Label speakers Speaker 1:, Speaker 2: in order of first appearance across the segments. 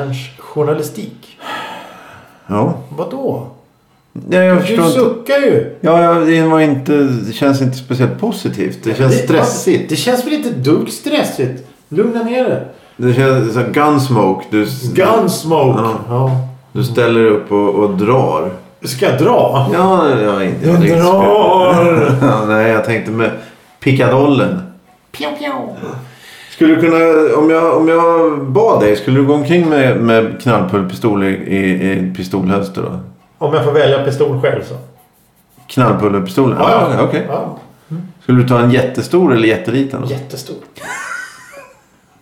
Speaker 1: Skjutjärnsjournalistik.
Speaker 2: Ja.
Speaker 1: Vadå?
Speaker 2: ja jag förstår
Speaker 1: Du
Speaker 2: inte.
Speaker 1: suckar ju.
Speaker 2: Ja, ja, det var inte, det känns inte speciellt positivt. Det känns stressigt.
Speaker 1: Det känns väl inte dugg stressigt? Lugna ner dig.
Speaker 2: Det känns som gunsmoke. Du, s-
Speaker 1: Gunsmoke.
Speaker 2: Ja.
Speaker 1: Ja.
Speaker 2: du ställer dig upp och, och drar.
Speaker 1: Ska jag dra?
Speaker 2: Ja, jag är inte
Speaker 1: Du
Speaker 2: riktigt skoj.
Speaker 1: drar.
Speaker 2: Ja, Nej, jag tänkte med pickadollen.
Speaker 1: Pjau, pjau.
Speaker 2: Skulle du kunna, om jag, om jag bad dig, skulle du gå omkring med, med knallpullerpistol i, i, i pistolhölster då?
Speaker 1: Om jag får välja pistol själv så.
Speaker 2: Knallpullerpistolen? okej.
Speaker 1: Ja.
Speaker 2: Skulle du ta en jättestor eller jätteliten?
Speaker 1: Jättestor.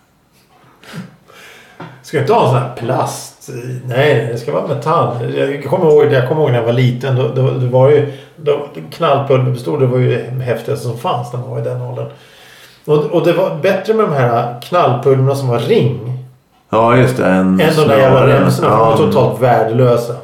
Speaker 1: Ska jag inte ha en sån här plast? Nej, det ska vara metall. Jag kommer ihåg, jag kommer ihåg när jag var liten. Då, då, det var ju, då, knallpulverpistol det var ju det häftigaste som fanns när man var i den åldern. Och, och det var bättre med de här knallpulverna som var ring.
Speaker 2: Ja, just det. En
Speaker 1: Än de där
Speaker 2: snöre.
Speaker 1: jävla remsorna. De var
Speaker 2: Ja.
Speaker 1: totalt värdelösa.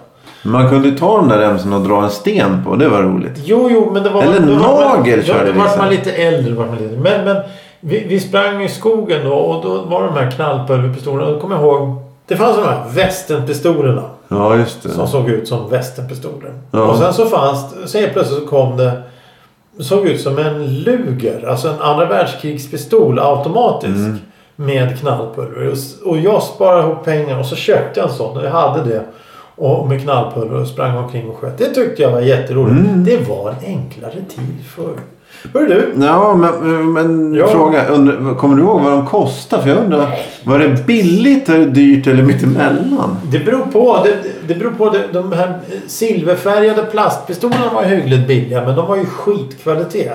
Speaker 2: Man kunde ju ta de där remsorna och dra en sten på. Det var roligt.
Speaker 1: Jo, jo, men det var...
Speaker 2: Eller
Speaker 1: då var
Speaker 2: nagel
Speaker 1: man,
Speaker 2: körde
Speaker 1: Då var
Speaker 2: vissa.
Speaker 1: man lite äldre. Var man lite, men men vi, vi sprang i skogen då och då var de här knallpulverpistolerna. Då kommer jag ihåg. Det fanns de här västenpistolerna.
Speaker 2: Ja, just det.
Speaker 1: Som såg ut som västenpistoler.
Speaker 2: Ja.
Speaker 1: Och sen så fanns det- så helt plötsligt så kom det. Såg ut som en Luger. Alltså en andra världskrigspistol automatisk. Med knallpulver. Och, s- och jag sparade ihop pengar och så köpte jag en sån. Och jag hade det. Och med knallpulver och sprang omkring och sköt. Det tyckte jag var jätteroligt. Det var en enklare tid förr. Hör du?
Speaker 2: Ja, men, men
Speaker 1: Ja.
Speaker 2: fråga. Undrar, kommer du ihåg vad de kostar? För jag undrar. Var det billigt, eller dyrt eller mittemellan?
Speaker 1: Det beror på. Det, det beror på det, de här eh, silverfärgade plastpistolerna var hyggligt billiga men de var ju skitkvalitet.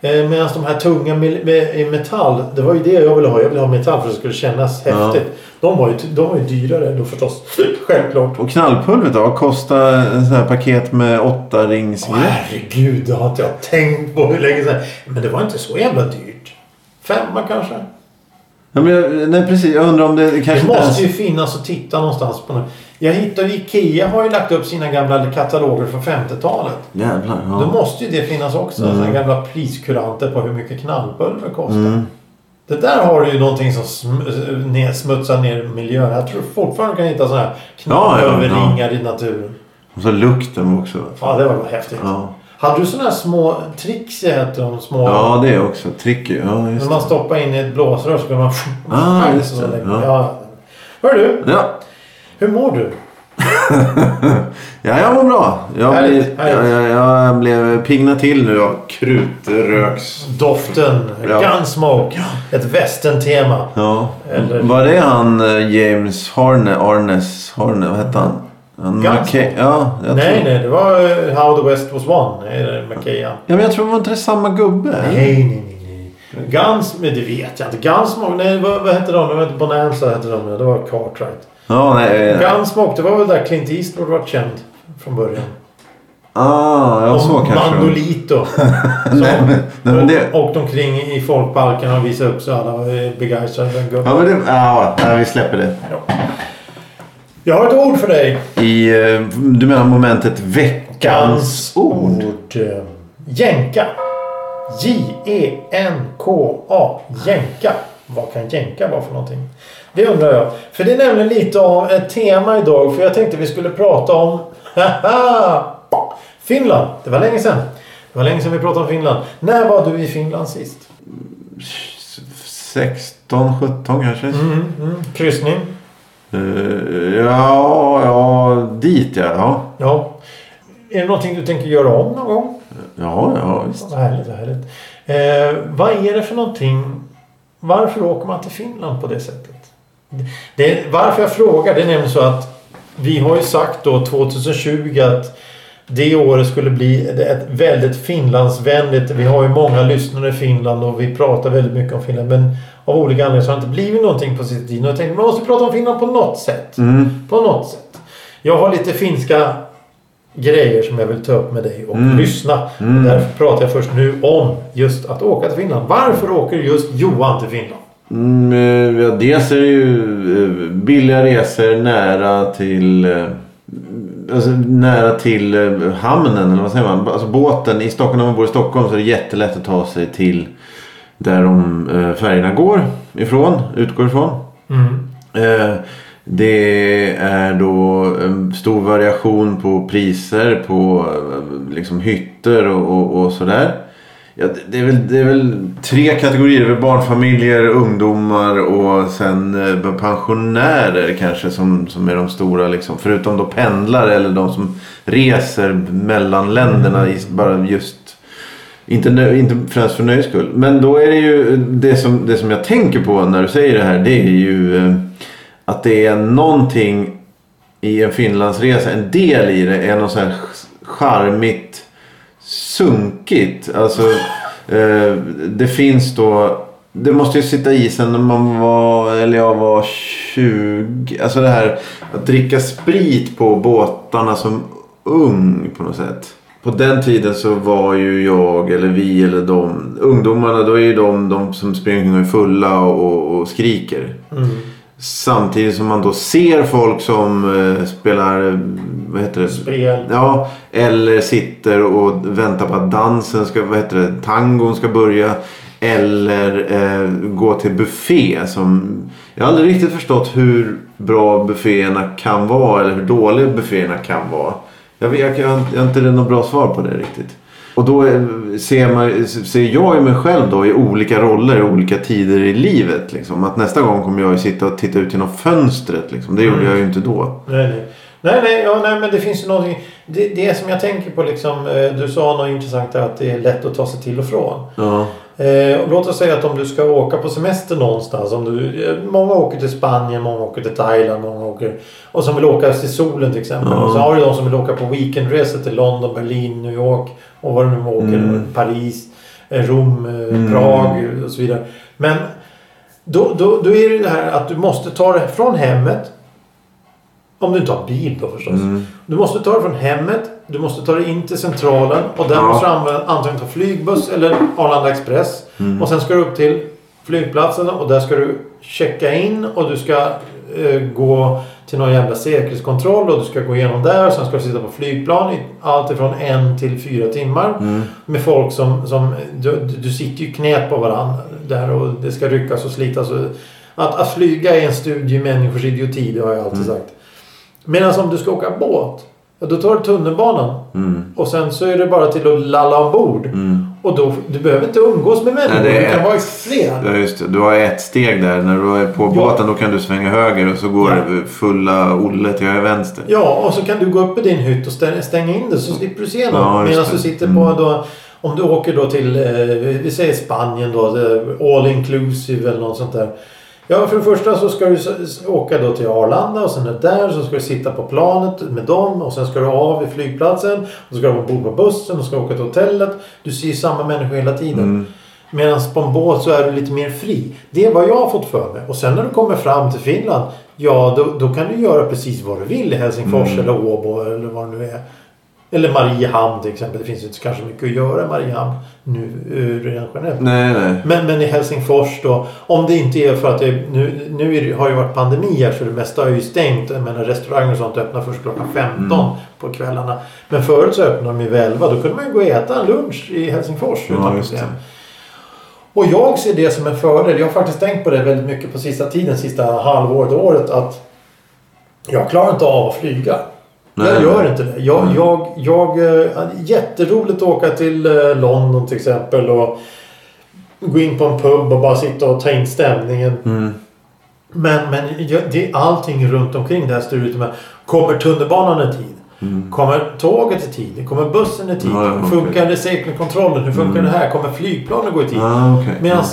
Speaker 1: Eh, Medan de här tunga mil- med, i metall, det var ju det jag ville ha. Jag ville ha metall för att det skulle kännas häftigt. De, var ju, de var ju dyrare då förstås. Självklart.
Speaker 2: Och knallpulvret då? Kostar en sån här paket med åtta rings
Speaker 1: Åh, herregud, det har inte jag tänkt på hur länge sedan. Men det var inte så jävla dyrt. Femma kanske.
Speaker 2: ja, men jag, Nej, precis. Jag undrar om det kanske
Speaker 1: Det
Speaker 2: inte ens...
Speaker 1: måste ju finnas att titta någonstans på. nu. Jag hittade Ikea har ju lagt upp sina gamla kataloger från 50-talet.
Speaker 2: Jävlar.
Speaker 1: Då
Speaker 2: Ja.
Speaker 1: måste ju det finnas också. Mm. Såna gamla priskuranter på hur mycket knallpulver kostar.
Speaker 2: Mm.
Speaker 1: Det där har du ju någonting som sm- eh, ner- smutsar ner miljön. Jag tror fortfarande du kan hitta sådana här knallpulverringar i naturen.
Speaker 2: Och så lukten också.
Speaker 1: Ja, det var väl häftigt.
Speaker 2: Ja,
Speaker 1: Hade du sådana här små tricks heter de små.
Speaker 2: ja det är också. Tricky. Ja,
Speaker 1: När
Speaker 2: just
Speaker 1: man
Speaker 2: det.
Speaker 1: stoppar in i ett blåsrör så blir man...
Speaker 2: Ah, just det.
Speaker 1: Ja.
Speaker 2: Ja.
Speaker 1: Hör du,
Speaker 2: Ja.
Speaker 1: hur mår du?
Speaker 2: Ja, jag mår bra. Jag,
Speaker 1: Härligt,
Speaker 2: blir,
Speaker 1: härligt.
Speaker 2: jag, jag, jag blev pigna till nu av krutröks...
Speaker 1: Doften,
Speaker 2: Ja.
Speaker 1: Gunsmoke, ett västern-tema.
Speaker 2: Ja.
Speaker 1: Eller-
Speaker 2: Var det han eh, James Harne, Arnes, Harne, vad hette han? han
Speaker 1: Gunsmoke.
Speaker 2: McKay- ja, jag
Speaker 1: Nej,
Speaker 2: tror,
Speaker 1: nej, det var eh, How the West Was Won. eh, Mackay.
Speaker 2: ja, men jag tror var inte det samma gubbe?
Speaker 1: Nej, nej, nej. nej. Guns, men det vet jag inte. Gunsmoke, nej vad, vad hette de? Det var inte Bonanza hette de. ja. Det var Cartwright.
Speaker 2: Ja, nej. eh,
Speaker 1: Gunsmoke, det var väl där Clint Eastwood var känd från början.
Speaker 2: Ah, ja, så
Speaker 1: och
Speaker 2: kanske. det
Speaker 1: Mandolito. som
Speaker 2: Nej, men- nej, men det-
Speaker 1: åkte omkring i folkparken och visade upp så alla var eh, begeistrade. över en
Speaker 2: var. Ja,
Speaker 1: gubbe.
Speaker 2: men det, ja, nej, vi släpper det.
Speaker 1: Jag har ett ord för dig.
Speaker 2: I, eh, du menar momentet veckans ord?
Speaker 1: eh, Jänka. E J-E-N-K-A. Jänka. Vad kan jänka vara för någonting? Det undrar jag. För det är nämligen lite av ett tema idag. För jag tänkte vi skulle prata om Finland. Det var länge sedan. Det var länge sedan vi pratade om Finland. När var du i Finland sist?
Speaker 2: 16, 17 kanske?
Speaker 1: Mm, mm. Kryssning.
Speaker 2: Eh, ja, ja, dit ja. ja.
Speaker 1: Ja. Är det någonting du tänker göra om någon gång?
Speaker 2: Ja, ja visst.
Speaker 1: Vad härligt, vad härligt. Eh, vad är det för någonting? Varför åker man till Finland på det sättet? Det, varför jag frågar, det är nämligen så att vi har ju sagt då 2020 att det året skulle bli ett väldigt Finlandsvänligt. Vi har ju många lyssnare i Finland och vi pratar väldigt mycket om Finland. Men av olika anledningar så har det inte blivit någonting på sitt tid. Och jag tänkte, man måste prata om Finland på något sätt. På något sätt. Jag har lite finska grejer som jag vill ta upp med dig och lyssna. Därför pratar jag först nu om just att åka till Finland. Varför åker just Johan till Finland?
Speaker 2: Mm, eh, ja, dels är det ju eh, billiga resor nära till... eh, Alltså, nära till eh, hamnen eller vad säger man? Alltså båten. I Stockholm, när man bor i Stockholm så är det jättelätt att ta sig till där de eh, färjorna går ifrån. Utgår ifrån.
Speaker 1: Mm.
Speaker 2: Eh, Det är då en stor variation på priser på eh, liksom hytter och, och, och sådär. Ja, det- det, är väl, det är väl tre kategorier. Det är väl barnfamiljer, ungdomar och sen eh, pensionärer kanske som, som är de stora. Liksom. Förutom då pendlare eller de som reser mellan länderna i, bara just inte, nö, inte främst för nöjes skull. Men då är det ju det som, det som jag tänker på när du säger det här. Det är ju eh, att det är någonting i en Finlandsresa. En del i det är något så här charmigt sunkigt. Alltså eh, det finns då. Det måste ju sitta i sen när man var, eller jag var 20. Alltså det här att dricka sprit på båtarna som ung på något sätt. På den tiden så var ju jag eller vi eller de ungdomarna då är ju de, de som springer omkring och är fulla och, och skriker.
Speaker 1: Mm.
Speaker 2: Samtidigt som man då ser folk som eh, spelar, eh, vad heter det?
Speaker 1: Spel.
Speaker 2: Ja, eller sitter och väntar på att dansen ska, vad heter det, tangon ska börja. Eller eh, gå till buffé som... Jag har aldrig riktigt förstått hur bra bufféerna kan vara eller hur dåliga bufféerna kan vara. Jag, vet- jag, jag, jag har inte något bra svar på det riktigt. Och då eh, ser, man, ser jag ju mig själv då i olika roller i olika tider i livet. Liksom. Att nästa gång kommer jag ju sitta och titta ut genom fönstret. Liksom. Det gjorde
Speaker 1: Mm.
Speaker 2: jag ju inte då.
Speaker 1: Nej, nej. Nej, nej, ja, nej, men det finns ju någonting. Det, det som jag tänker på liksom. eh, Du sa något intressant där att det är lätt att ta sig till och från.
Speaker 2: Ja.
Speaker 1: Eh, och låt oss säga att om du ska åka på semester någonstans. Om du, eh, många åker till Spanien, många åker till Thailand, många åker... Och som vill åka till solen till exempel.
Speaker 2: Ja.
Speaker 1: Och så har du de som vill åka på weekendresor till London, Berlin, New York och vad de nu åker.
Speaker 2: Mm.
Speaker 1: Paris, eh, Rom, eh,
Speaker 2: Mm.
Speaker 1: Prag och så vidare. Men då, då, då är det det här att du måste ta det från hemmet. Om du inte har bil då förstås.
Speaker 2: Mm.
Speaker 1: Du måste ta det från hemmet. Du måste ta det in till centralen. Och där
Speaker 2: Ja.
Speaker 1: måste du använda, antingen ta flygbuss eller Arlanda Express. Mm.
Speaker 2: Mm.
Speaker 1: Och sen ska du upp till flygplatsen och där ska du checka in och du ska eh, gå till någon jävla säkerhetskontroll och du ska gå igenom där. Och sen ska du sitta på flygplan i allt ifrån en till fyra timmar.
Speaker 2: Mm.
Speaker 1: Med folk som... som du, du sitter ju knät på varandra där och det ska ryckas och slitas. Och, att, att flyga är en studie i människors idioti, det har jag alltid sagt. Medan om du ska åka båt, ja, då tar du tunnelbanan.
Speaker 2: Mm.
Speaker 1: Och sen så är det bara till att lalla ombord.
Speaker 2: Mm.
Speaker 1: Och då, du behöver inte umgås med människor,
Speaker 2: Nej, det är
Speaker 1: du kan
Speaker 2: ett-
Speaker 1: vara i flera.
Speaker 2: Ja, just det. Du har ett steg där. När du är på båten då kan du svänga höger och så går
Speaker 1: Ja.
Speaker 2: fulla Olle till vänster.
Speaker 1: Ja, och så kan du gå upp i din hytt och stäng- stänga in det så slipper du se någon.
Speaker 2: Ja, just
Speaker 1: Medan
Speaker 2: det.
Speaker 1: du sitter
Speaker 2: Mm.
Speaker 1: på då, om du åker då till, eh, vi säger Spanien då, eh, all inclusive eller något sånt där. Ja, för det första så ska du s- s- åka då till Arlanda och sen är det där så ska du sitta på planet med dem och sen ska du av vid flygplatsen. Och så ska du ombord på bussen och ska åka till hotellet. Du ser ju samma människor hela tiden.
Speaker 2: Mm.
Speaker 1: Medan på en båt så är du lite mer fri. Det är vad jag har fått för mig. Och sen när du kommer fram till Finland. Ja, då, då kan du göra precis vad du vill i Helsingfors
Speaker 2: Mm.
Speaker 1: eller Åbo eller vad det nu är. Eller Mariehamn till exempel. Det finns ju inte så kanske mycket att göra i Mariehamn nu eh, rent generellt.
Speaker 2: Nej, nej.
Speaker 1: Men, men i Helsingfors då. Om det inte är för att det nu, nu är det, har ju varit pandemi här så det mesta är ju stängt. Jag menar restauranger och sånt öppnar först klockan 15
Speaker 2: Mm.
Speaker 1: på kvällarna. Men förut så öppnade de ju vid 11. Då kunde man ju gå och äta en lunch i Helsingfors
Speaker 2: Ja,
Speaker 1: utan
Speaker 2: just det.
Speaker 1: problem. Och jag ser det som en fördel. Jag har faktiskt tänkt på det väldigt mycket på sista tiden, sista halvåret, året att jag klarar inte av att flyga.
Speaker 2: Nej.
Speaker 1: Jag gör inte det. Jag,
Speaker 2: Mm.
Speaker 1: jag, jag, eh, jätteroligt att åka till eh, London till exempel och gå in på en pub och bara sitta och ta in stämningen.
Speaker 2: Mm.
Speaker 1: Men, men jag- det är allting runt omkring det här styret med. Kommer tunnelbanan i tid? Kommer tåget i tid? Kommer bussen i tid?
Speaker 2: Mm. Ja, ja, okej. Mm.
Speaker 1: Funkar det säkerhetskontrollen? Hur funkar det här? Kommer flygplanen gå i tid?
Speaker 2: Ah, okej.
Speaker 1: Medan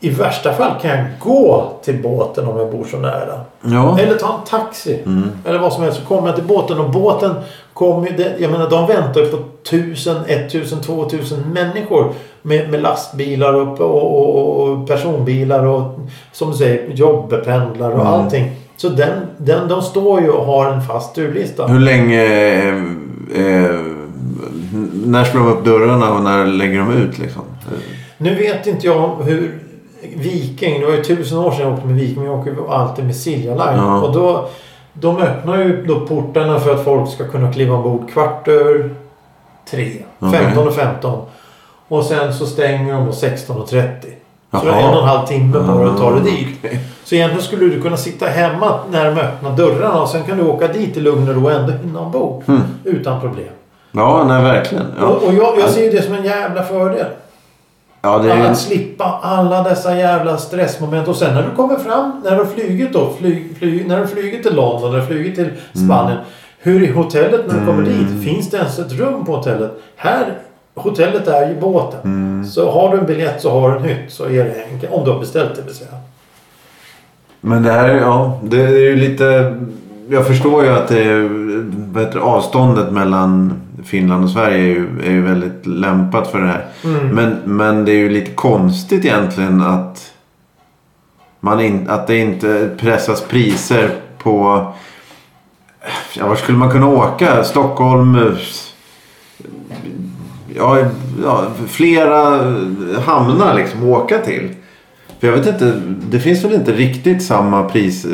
Speaker 1: i värsta fall kan jag gå till båten om jag bor så nära.
Speaker 2: Ja. Mm.
Speaker 1: Eller ta en taxi. Eller vad som helst. Så kommer jag till båten och båten kommer ju... det- Jag menar de väntar ju på 1000, 1000, 2000 människor. Med, med lastbilar och, och, och, och personbilar och som du säger jobbpendlare och
Speaker 2: Mm.
Speaker 1: allting. Så den, den, de står ju och har en fast turlista.
Speaker 2: Hur länge... Eh, eh, när slår de upp dörrarna och när lägger de ut liksom?
Speaker 1: Nu vet inte jag hur Viking, det var ju tusen år sedan jag åkte med Viking. Men jag åker ju alltid med Silja Line.
Speaker 2: Ja.
Speaker 1: Och då, de öppnar ju då portarna för att folk ska kunna kliva ombord kvart över tre.
Speaker 2: Okej.
Speaker 1: 15 och 15. Och sen så stänger de då 16.30. Så du har
Speaker 2: Jaha. Ah,
Speaker 1: en och en halv timme bara att ta dig dit.
Speaker 2: Okej.
Speaker 1: Så egentligen skulle du kunna sitta hemma när de öppnar dörrarna och sen kan du åka dit i lugn och ro och ändå hinna ombord. Utan problem.
Speaker 2: Ja, nej verkligen. Hmm. Ja,
Speaker 1: Och, och jag, jag ser ju det som en jävla fördel.
Speaker 2: ja det är
Speaker 1: Att slippa alla dessa jävla stressmoment. Och sen när du kommer fram, när du har flugit då. Flyg, flyg, när du har flugit till London, när du har flugit till
Speaker 2: Mm.
Speaker 1: Spanien. Hur är hotellet när du kommer dit? Finns det ens ett rum på hotellet? Här, hotellet är ju båten.
Speaker 2: Mm.
Speaker 1: Så har du en biljett så har du en hytt. Så är det enkelt. Om du har beställt det vill säga.
Speaker 2: Men det här är, ja, det är ju lite... Jag förstår ju att det är, vad heter det, avståndet mellan Finland och Sverige är ju, är ju väldigt lämpat för det här. Men, men det är ju lite konstigt egentligen att, man in, att det inte pressas priser på... Ja, var skulle man kunna åka? Stockholm? eh, Ja, ja, flera hamnar liksom att åka till. För jag vet inte, det finns väl inte riktigt samma pris. eh,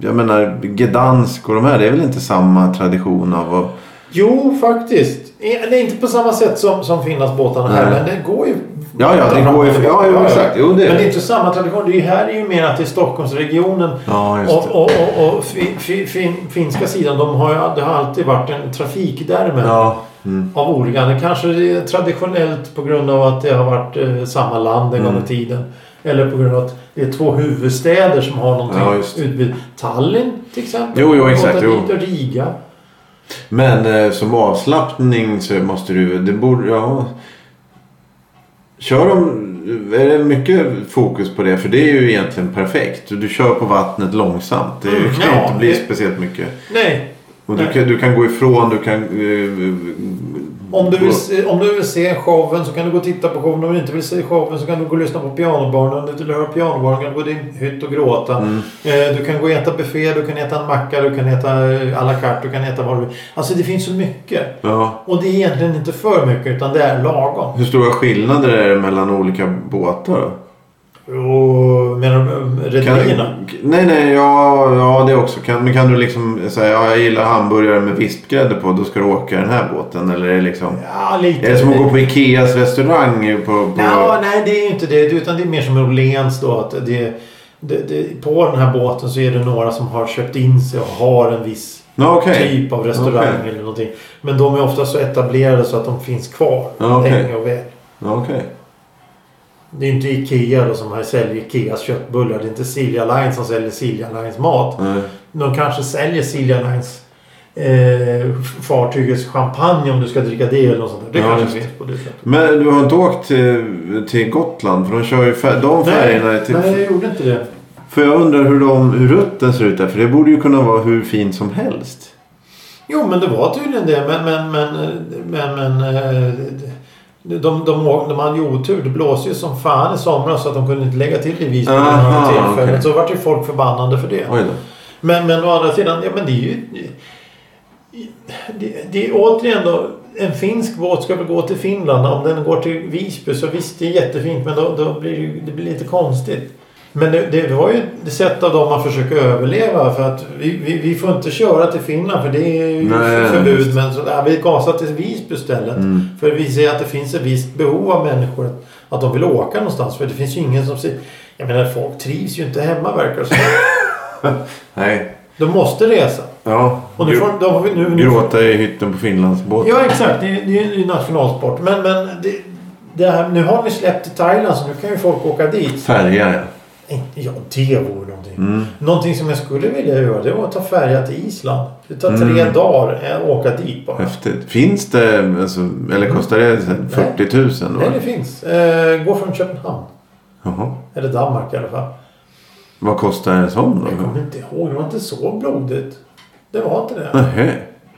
Speaker 2: Jag menar Gdansk och de här, det är väl inte samma tradition av att...
Speaker 1: Jo, faktiskt. I- Det är inte på samma sätt som, som Finlandsbåtarna här,
Speaker 2: Nej.
Speaker 1: men det går ju.
Speaker 2: Ja, ja, det går ju- ja, ja, exakt. Jo, det är
Speaker 1: Men det
Speaker 2: det.
Speaker 1: är inte samma tradition. Det är ju här är ju mer att det är Stockholmsregionen.
Speaker 2: Ja, just
Speaker 1: och
Speaker 2: det.
Speaker 1: och, och, och fi, fi, fin, finska sidan, de har, ju- det har alltid varit en trafik där med.
Speaker 2: Ja. Mm.
Speaker 1: Av olika anledningar. Kanske det är traditionellt på grund av att det har varit eh, samma land en gång
Speaker 2: Mm.
Speaker 1: i tiden. Eller på grund av att det är två huvudstäder som har någonting
Speaker 2: Ja, just det.
Speaker 1: utbyte. Tallinn till exempel.
Speaker 2: Jo, jo, exakt,
Speaker 1: Åka dit
Speaker 2: jo.
Speaker 1: Och Riga.
Speaker 2: Men eh, som avslappning så måste du... Det borde... Ja. Kör de... Är det mycket fokus på det? För det är ju egentligen perfekt. Du, du kör på vattnet långsamt. Det är ju-
Speaker 1: Mm,
Speaker 2: kan ju
Speaker 1: ja,
Speaker 2: inte bli
Speaker 1: det-
Speaker 2: speciellt mycket.
Speaker 1: Nej,
Speaker 2: Och du
Speaker 1: Nej.
Speaker 2: kan, du kan gå ifrån, du kan... eh,
Speaker 1: Om du, vill se, om du vill se showen så kan du gå och titta på showen. Om du inte vill se showen så kan du gå och lyssna på pianobarnen. Om du inte vill höra pianobarnen kan du gå i din hytt och gråta.
Speaker 2: Mm.
Speaker 1: Eh, Du kan gå och äta buffé, du kan äta en macka, du kan äta eh, à la carte, du kan äta vad du vill. Alltså det finns så mycket.
Speaker 2: Ja.
Speaker 1: Och det är egentligen inte för mycket utan det är lagom.
Speaker 2: Hur stora skillnader är det mellan olika båtar då?
Speaker 1: Och menar du eh,
Speaker 2: Kan-
Speaker 1: rederierna?
Speaker 2: nej, nej, ja, ja det också. Kan, men kan du liksom säga ja, jag gillar hamburgare med vispgrädde på, då ska du åka den här båten? Eller är det liksom...
Speaker 1: Ja, lite.
Speaker 2: Är det som att gå på Ikeas restaurang? På, på...
Speaker 1: Ja, nej, det är ju inte det. Utan det är mer som Åhléns då. Att det, det, det, på den här båten så är det några som har köpt in sig och har en viss
Speaker 2: Ja, okej.
Speaker 1: typ av restaurang
Speaker 2: Okej.
Speaker 1: eller någonting. Men de är ofta så etablerade så att de finns kvar
Speaker 2: Ja, okej.
Speaker 1: länge och väl.
Speaker 2: Ja, Okej.
Speaker 1: Det är inte Ikea då som här säljer Ikeas köttbullar. Det är inte Silja Line som säljer Silja Lines mat.
Speaker 2: Nej.
Speaker 1: De kanske säljer Silja Lines eh, fartygets champagne om du ska dricka det eller något sånt där. Det
Speaker 2: Ja,
Speaker 1: kanske
Speaker 2: just det.
Speaker 1: finns på det sättet.
Speaker 2: Men du har inte åkt till, till Gotland? För de kör ju fär, de färjorna är typ-
Speaker 1: Nej,
Speaker 2: till...
Speaker 1: nej, jag gjorde inte det.
Speaker 2: För jag undrar hur, de, hur rutten ser ut där. För det borde ju kunna vara hur fint som helst.
Speaker 1: Jo, men det var tydligen det. Men, men, men, men, men eh, de, de, de, de hade ju otur. Det blåste ju som fan i somras så att de kunde inte lägga till i Visby vid några
Speaker 2: Aha,
Speaker 1: tillfällen.
Speaker 2: okej.
Speaker 1: Så vart ju folk förbannade för det.
Speaker 2: Oj då.
Speaker 1: Men, men å andra sidan, ja men det är ju... Det, det är återigen då. En finsk båt ska väl gå till Finland. Om den går till Visby så visst, det är jättefint. Men då, då blir det, ju- det blir lite konstigt. Men det, det var ju ett sätt av dem att försöka överleva. För att vi, vi, vi får inte köra till Finland för det är ju
Speaker 2: Nej, Mm.
Speaker 1: förbud. Men så, ja, vi gasar till Visby istället. För vi ser att det finns ett visst behov av människor. Att, att de vill åka någonstans. För det finns ju ingen som ser... Jag menar folk trivs ju inte hemma verkar det som.
Speaker 2: Nej.
Speaker 1: De måste resa.
Speaker 2: Ja.
Speaker 1: Och nu får, de, har vi- nu, nu,
Speaker 2: Gråta i hytten på Finlandsbåten.
Speaker 1: ja exakt, det är det är ju nationalsport. Men, men det, det här, nu har vi släppt till Thailand så nu kan ju folk åka dit.
Speaker 2: Färja ja.
Speaker 1: Inte- Ja, det vore någonting. Någonting som jag skulle vilja göra det var att ta färja till Island. Det tar tre dagar att åka dit bara.
Speaker 2: Häftigt. Finns det, alltså, eller kostar det så här 40 000? Då?
Speaker 1: Nej, det finns. Eh, gå från Köpenhamn.
Speaker 2: Jaha.
Speaker 1: Eller Danmark i alla fall.
Speaker 2: Vad kostar en sån
Speaker 1: Jag
Speaker 2: då?
Speaker 1: kommer inte ihåg. Det var inte så blodigt. Det var inte det.
Speaker 2: Nähä.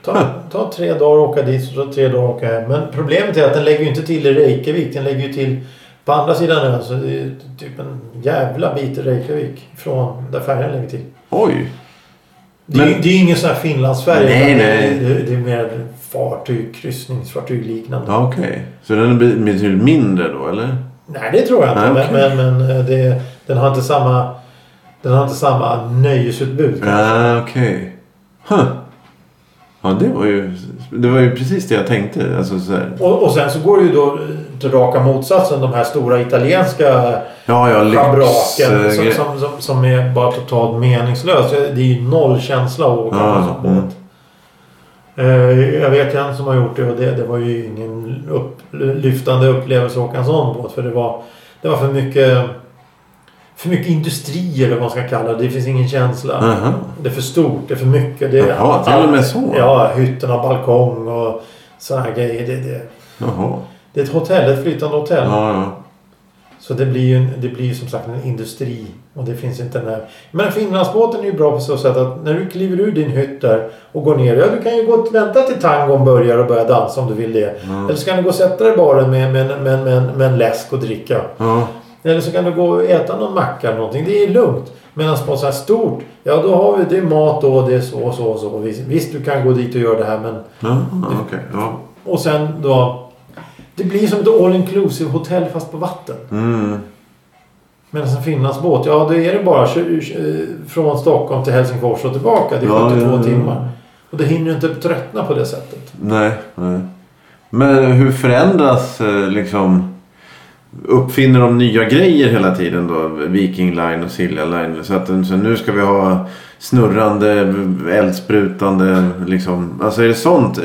Speaker 1: Ta, ta tre dagar och åka dit så ta tre dagar och åka hem. Men problemet är att den lägger ju inte till i Reykjavik. Den lägger ju till på andra sidan ön. Så det är ju typ en jävla bit i Reykjavik. Från där färjan lägger till.
Speaker 2: Oj.
Speaker 1: Det är, ju-
Speaker 2: Men-
Speaker 1: det är ju ingen sån här Finlandsfärja.
Speaker 2: Nej,
Speaker 1: utan
Speaker 2: nej.
Speaker 1: Det, är- det är mer fartyg, kryssningsfartyg liknande.
Speaker 2: Ja, Okej. Så den är betydligt mindre då eller?
Speaker 1: Nej, det tror jag inte.
Speaker 2: Nej, okej.
Speaker 1: Men, men, men eh, det, den har inte samma... Den har inte samma nöjesutbud.
Speaker 2: Ah, okej. Huh. Ja, det var, ju, det var ju precis det jag tänkte. Alltså, så här.
Speaker 1: Och, och sen så går det ju då till raka motsatsen. De här stora italienska
Speaker 2: Ja, ja, lyx.
Speaker 1: schabraken
Speaker 2: eh,
Speaker 1: som,
Speaker 2: gre-
Speaker 1: som, som, som är bara totalt meningslös. Det är ju noll känsla att åka på en
Speaker 2: Ja,
Speaker 1: sån
Speaker 2: mm.
Speaker 1: båt. Eh, Jag vet en som har gjort det och det, det var ju ingen upp, lyftande upplevelse att åka en sån båt. För det var, det var för mycket för mycket industri eller vad man ska kalla det. Det finns ingen känsla.
Speaker 2: Aha.
Speaker 1: Det är för stort, det är för mycket. Det är
Speaker 2: Mm. Jaha, till och med så.
Speaker 1: Ja, hytten har balkong och sådana här grejer. Det, det,
Speaker 2: Jaha.
Speaker 1: det är ett hotell, ett flytande hotell.
Speaker 2: Ja, ja.
Speaker 1: Så det blir ju en, det blir ju som sagt en industri. Och det finns inte den här... Men Finlandsbåten är ju bra på så sätt att när du kliver ur din hytt där och går ner. Ja, du kan ju gå och vänta till tangon börjar och börja dansa om du vill det.
Speaker 2: Mm.
Speaker 1: Eller så kan du gå och sätta dig i baren med, med, med, med, med, med en läsk och dricka.
Speaker 2: ja.
Speaker 1: Eller så kan du gå och äta någon macka eller någonting. Det är lugnt. Medan på så här stort, ja då har vi det är mat då, det är så och så och så. Visst, visst du kan gå dit och göra det här men...
Speaker 2: ja okej. Ja.
Speaker 1: Och sen då... Det blir som ett all inclusive hotell fast på vatten.
Speaker 2: Mm.
Speaker 1: Medan en Finlandsbåt, ja då är det bara tju- tju- från Stockholm till Helsingfors och tillbaka. Det är
Speaker 2: Ja,
Speaker 1: 72
Speaker 2: ja, ja.
Speaker 1: timmar. Och det hinner du inte tröttna på det sättet.
Speaker 2: Nej, nej. Men hur förändras eh, liksom... Uppfinner de nya grejer hela tiden då? Viking Line och Silja Line. Så att så nu ska vi ha snurrande, eldsprutande liksom. Alltså är det sånt?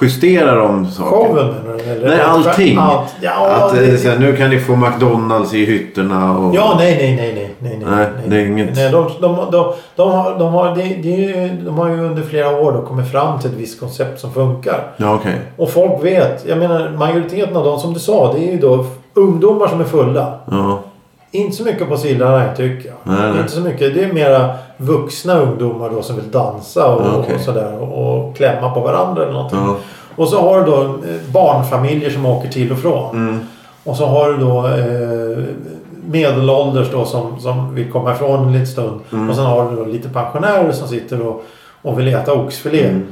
Speaker 2: Justerar de saker?
Speaker 1: Showen menar du? eller?
Speaker 2: Nej, allting.
Speaker 1: Allt. Ja,
Speaker 2: att, eh,
Speaker 1: det,
Speaker 2: så här, nu kan ni få McDonalds i hytterna och...
Speaker 1: ja, nej, nej, nej, nej, nej,
Speaker 2: Nej, det är inget.
Speaker 1: Nej, de, de, de, de, har, de, har, det, det är ju, de har ju under flera år då kommit fram till ett visst koncept som funkar.
Speaker 2: Ja, okej.
Speaker 1: Och folk vet, jag menar majoriteten av dem som du sa, det är ju då ungdomar som är fulla.
Speaker 2: Ja.
Speaker 1: Inte så mycket på sillarna tycker jag.
Speaker 2: Nej, nej.
Speaker 1: Inte så mycket. Det är mera vuxna ungdomar då som vill dansa och,
Speaker 2: Ja, okej.
Speaker 1: och sådär. Och, och klämma på varandra eller någonting.
Speaker 2: Ja.
Speaker 1: Och så har du då eh, barnfamiljer som åker till och från.
Speaker 2: Mm.
Speaker 1: Och så har du då eh, medelålders då som, som vill komma ifrån en liten stund.
Speaker 2: Mm.
Speaker 1: Och sen har du då lite pensionärer som sitter och, och vill äta oxfilé
Speaker 2: Mm.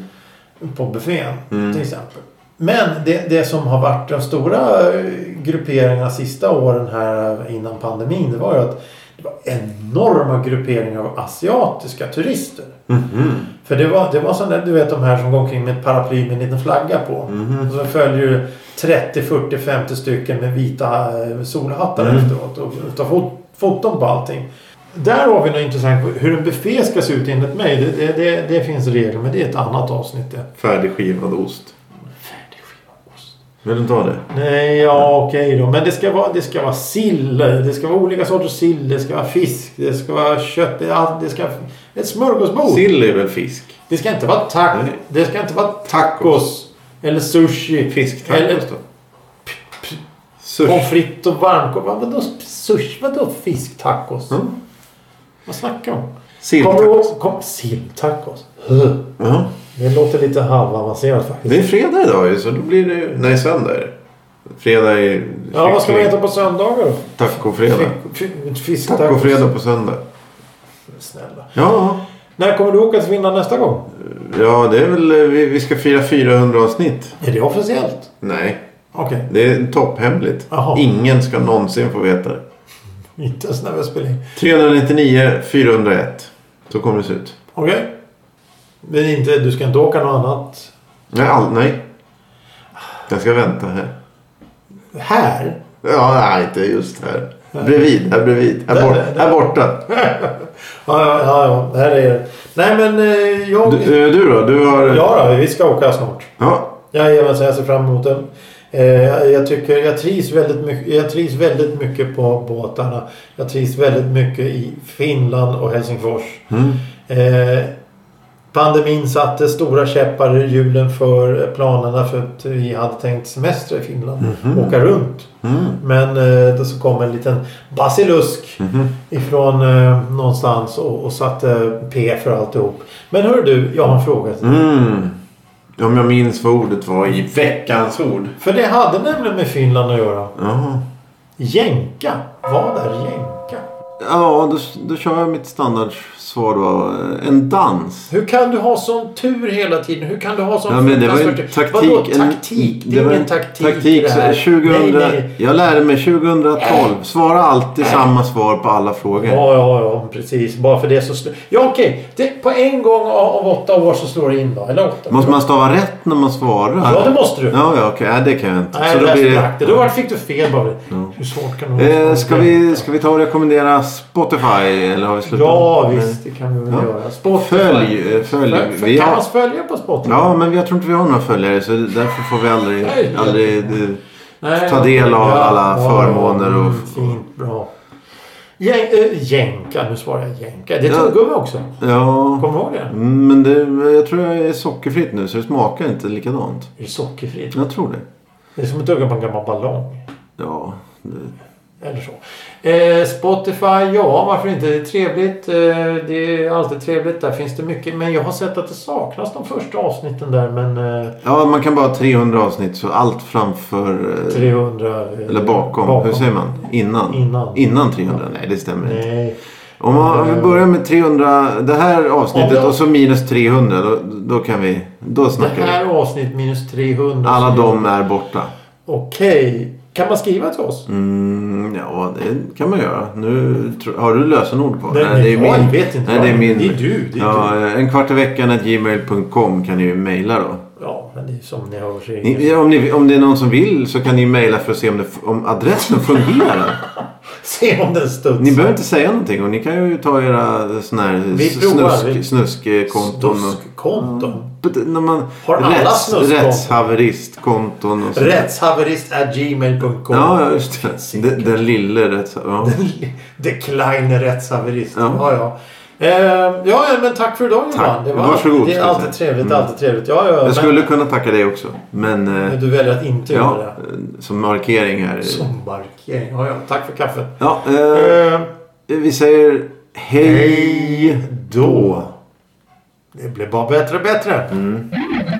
Speaker 1: på buffén till exempel. Men det, det som har varit de stora eh, grupperingarna sista åren här eh, innan pandemin det var ju att det var enorma grupperingar av asiatiska turister.
Speaker 2: Mhm.
Speaker 1: För det var, det var sån där, du vet de här som går omkring med ett paraply med en liten flagga på.
Speaker 2: Mm. mhm.
Speaker 1: Och så följer du 30, 40, 50 stycken med vita eh, solhattar efteråt och tar fot, foton på allting. Där har vi något intressant. Hur en buffé ska se ut enligt mig, det, det, det, det finns regler men det är ett annat avsnitt det.
Speaker 2: Färdigskivad ost. Vill du ta det?
Speaker 1: Nej, ja okej då. Men det ska, vara, det ska vara sill. Det ska vara olika sorters sill. Det ska vara fisk. Det ska vara kött. Det, allt- det ska, ett smörgåsbord.
Speaker 2: Sill är väl fisk?
Speaker 1: Det ska inte vara tack.
Speaker 2: Nej.
Speaker 1: Det ska inte vara tacos. Eller sushi. Eller
Speaker 2: Fisktacos då?
Speaker 1: pommes
Speaker 2: Sushi.
Speaker 1: frites och varmkorv. Vad- Vadå sushi? Vadå fisktacos?
Speaker 2: Mm.
Speaker 1: Vad snackar du om? Kommer du
Speaker 2: Silltacos.
Speaker 1: ihåg? Kom, silltacos. Huh.
Speaker 2: Ja.
Speaker 1: Det låter lite halvavancerat faktiskt.
Speaker 2: Det är fredag idag ju, så då blir det... ju- Nej, söndag är det. Fredag är...
Speaker 1: Ja, vad ska man äta på söndagar då?
Speaker 2: Tacofredag.
Speaker 1: Fi- fi- Fisktacos.
Speaker 2: Tacofredag på söndag.
Speaker 1: Snälla.
Speaker 2: Ja,
Speaker 1: När kommer du åka till Finland nästa gång?
Speaker 2: ja det är väl... eh, Vi, vi ska fira 400 avsnitt.
Speaker 1: Är det officiellt?
Speaker 2: Nej,
Speaker 1: Okej.
Speaker 2: det är topphemligt.
Speaker 1: Jaha.
Speaker 2: Ingen ska någonsin få veta det.
Speaker 1: Inte ens när vi spelar in.
Speaker 2: 399 401. Så kommer det se ut.
Speaker 1: Okej. Men inte, du ska inte åka något annat?
Speaker 2: Nej, all, nej. Jag ska vänta här.
Speaker 1: Här?
Speaker 2: Ja, nej, inte just här. Bredvid, här bredvid. Här,
Speaker 1: Där,
Speaker 2: bort,
Speaker 1: där, där.
Speaker 2: här borta.
Speaker 1: Ja, ja, ja, ja. Här är det. Nej, men eh, jag...
Speaker 2: Du, eh, du då? Du har...
Speaker 1: Ja, då, vi ska åka snart.
Speaker 2: Ja.
Speaker 1: Jajamensan, jag ser fram emot den. Eh, jag, tycker, jag, trivs väldigt mycket, jag trivs väldigt mycket på båtarna. Jag trivs väldigt mycket i Finland och Helsingfors.
Speaker 2: Mm.
Speaker 1: Eh, pandemin satte stora käppar i hjulen för planerna för att vi hade tänkt semester i Finland.
Speaker 2: Mhm.
Speaker 1: Åka runt.
Speaker 2: Mm.
Speaker 1: Men eh, då så kom en liten basilusk
Speaker 2: Mhm.
Speaker 1: ifrån eh, någonstans och, och satte P för alltihop. Men hör du, jag har en fråga. till dig.
Speaker 2: Mm. Om jag minns vad ordet var i veckans ord.
Speaker 1: För det hade nämligen med Finland att göra.
Speaker 2: Jaha.
Speaker 1: Jänka. Vad är jänka?
Speaker 2: Ja, då, då kör jag mitt standardsvar då. En dans.
Speaker 1: Hur kan du ha sån tur hela tiden? Hur kan du ha sån
Speaker 2: Ja, men det var ju
Speaker 1: fruktansvärd
Speaker 2: taktik.
Speaker 1: tur? Vadå
Speaker 2: en-
Speaker 1: taktik? Det är
Speaker 2: var
Speaker 1: ingen
Speaker 2: en
Speaker 1: taktik, i
Speaker 2: taktik
Speaker 1: det
Speaker 2: så-
Speaker 1: här.
Speaker 2: 2000,
Speaker 1: Nej, nej. Äh.
Speaker 2: Jag lärde mig 2012. Svara alltid samma svar på alla frågor.
Speaker 1: Ja, ja, ja, precis. Bara för det så... sl- Ja, okej. Det- På en gång av av åtta år så slår det in då. Eller åtta.
Speaker 2: Måste man stava rätt när man svarar?
Speaker 1: Ja, det måste du.
Speaker 2: Ja, ja okej. Nej, det kan jag inte.
Speaker 1: Nej,
Speaker 2: Så då
Speaker 1: det
Speaker 2: blir det-
Speaker 1: det... Då var- fick du fel bara. Hur svårt kan det vara?
Speaker 2: Eh, ska, vi, ska vi ta och rekommendera Spotify? Eller har vi slutat?
Speaker 1: Ja, visst. Det kan vi väl
Speaker 2: Ja.
Speaker 1: göra. Spotify.
Speaker 2: Följ, eh, följ.
Speaker 1: Följ-
Speaker 2: Vi
Speaker 1: Kan
Speaker 2: har-
Speaker 1: man följa på Spotify?
Speaker 2: Ja, men jag tror inte vi har några följare så därför får vi aldrig,
Speaker 1: Nej.
Speaker 2: aldrig eh,
Speaker 1: Nej,
Speaker 2: ta del av
Speaker 1: ja,
Speaker 2: alla
Speaker 1: ja,
Speaker 2: förmåner. Och,
Speaker 1: mm, Fint, bra. Jän, äh, jänka, nu svarar jag jänka. Det är
Speaker 2: Ja.
Speaker 1: tuggummi också.
Speaker 2: ja,
Speaker 1: Kommer du ihåg det?
Speaker 2: Mm, men det, jag tror jag är sockerfritt nu så det smakar inte likadant.
Speaker 1: Det är sockerfritt.
Speaker 2: Jag tror det.
Speaker 1: Det är som att tugga på en gammal ballong.
Speaker 2: Ja, det,
Speaker 1: Eller så. Eh, Spotify, ja varför inte? Det är trevligt. Eh, det är alltid trevligt. Där finns det mycket. Men jag har sett att det saknas de första avsnitten där. Men eh,
Speaker 2: ja, man kan bara ha 300 avsnitt så allt framför... eh,
Speaker 1: 300... eh,
Speaker 2: Eller bakom. Hur säger man? Innan?
Speaker 1: Innan.
Speaker 2: Innan 300? Nej, det stämmer inte.
Speaker 1: Nej.
Speaker 2: Om, man, om vi börjar med 300, det här avsnittet
Speaker 1: Eh. Om det-
Speaker 2: och så minus 300. Då, då kan vi... Då
Speaker 1: Det
Speaker 2: snackar vi.
Speaker 1: här avsnitt minus 300.
Speaker 2: Alla de är borta.
Speaker 1: Okej. Kan man skriva till oss?
Speaker 2: Mm, ja, det kan man göra. Nu, tro- har du lösenord på?
Speaker 1: Nej, nej, jag vet inte.
Speaker 2: nej, det är min.
Speaker 1: Det är du, det är
Speaker 2: ja, eh, En kvart i veckan at gmail.com kan ni ju mejla då.
Speaker 1: Ja, men det är som ni hör så är det-
Speaker 2: Ni, ja, om, ni, om det är någon som vill så kan ni mejla för att se om, det, om adressen fungerar.
Speaker 1: Se om den
Speaker 2: Ni
Speaker 1: studsar.
Speaker 2: behöver inte säga någonting och ni kan ju ta era såna här
Speaker 1: Vi provar, vi-
Speaker 2: snusk, snuskkonton. och-
Speaker 1: Konton.
Speaker 2: Bet- eh, När man,
Speaker 1: Har alla snuskkonton?
Speaker 2: rättshaveristkonton och sånt.
Speaker 1: Rättshaverist at gmail.com.
Speaker 2: Ja, ja, just det. Den, den lille rättshaveristen. Ja.
Speaker 1: The Kleine rättshaverist. Ja. Ja,
Speaker 2: Ja.
Speaker 1: ja. Ehm, ja, ja, men tack för idag Johan.
Speaker 2: Tack.
Speaker 1: Det, var,
Speaker 2: Varsågod,
Speaker 1: det är
Speaker 2: ska jag
Speaker 1: alltid
Speaker 2: säga.
Speaker 1: trevligt, alltid trevligt. Ja, ja, men,
Speaker 2: Jag skulle kunna tacka dig också. Men eh,
Speaker 1: men du väljer att inte
Speaker 2: ja,
Speaker 1: göra det.
Speaker 2: eh, som markering här.
Speaker 1: Som markering. Ja, ja. Tack för kaffet.
Speaker 2: Ja, eh,
Speaker 1: Ehm,
Speaker 2: vi säger hej då.
Speaker 1: Det blir bara bättre och bättre.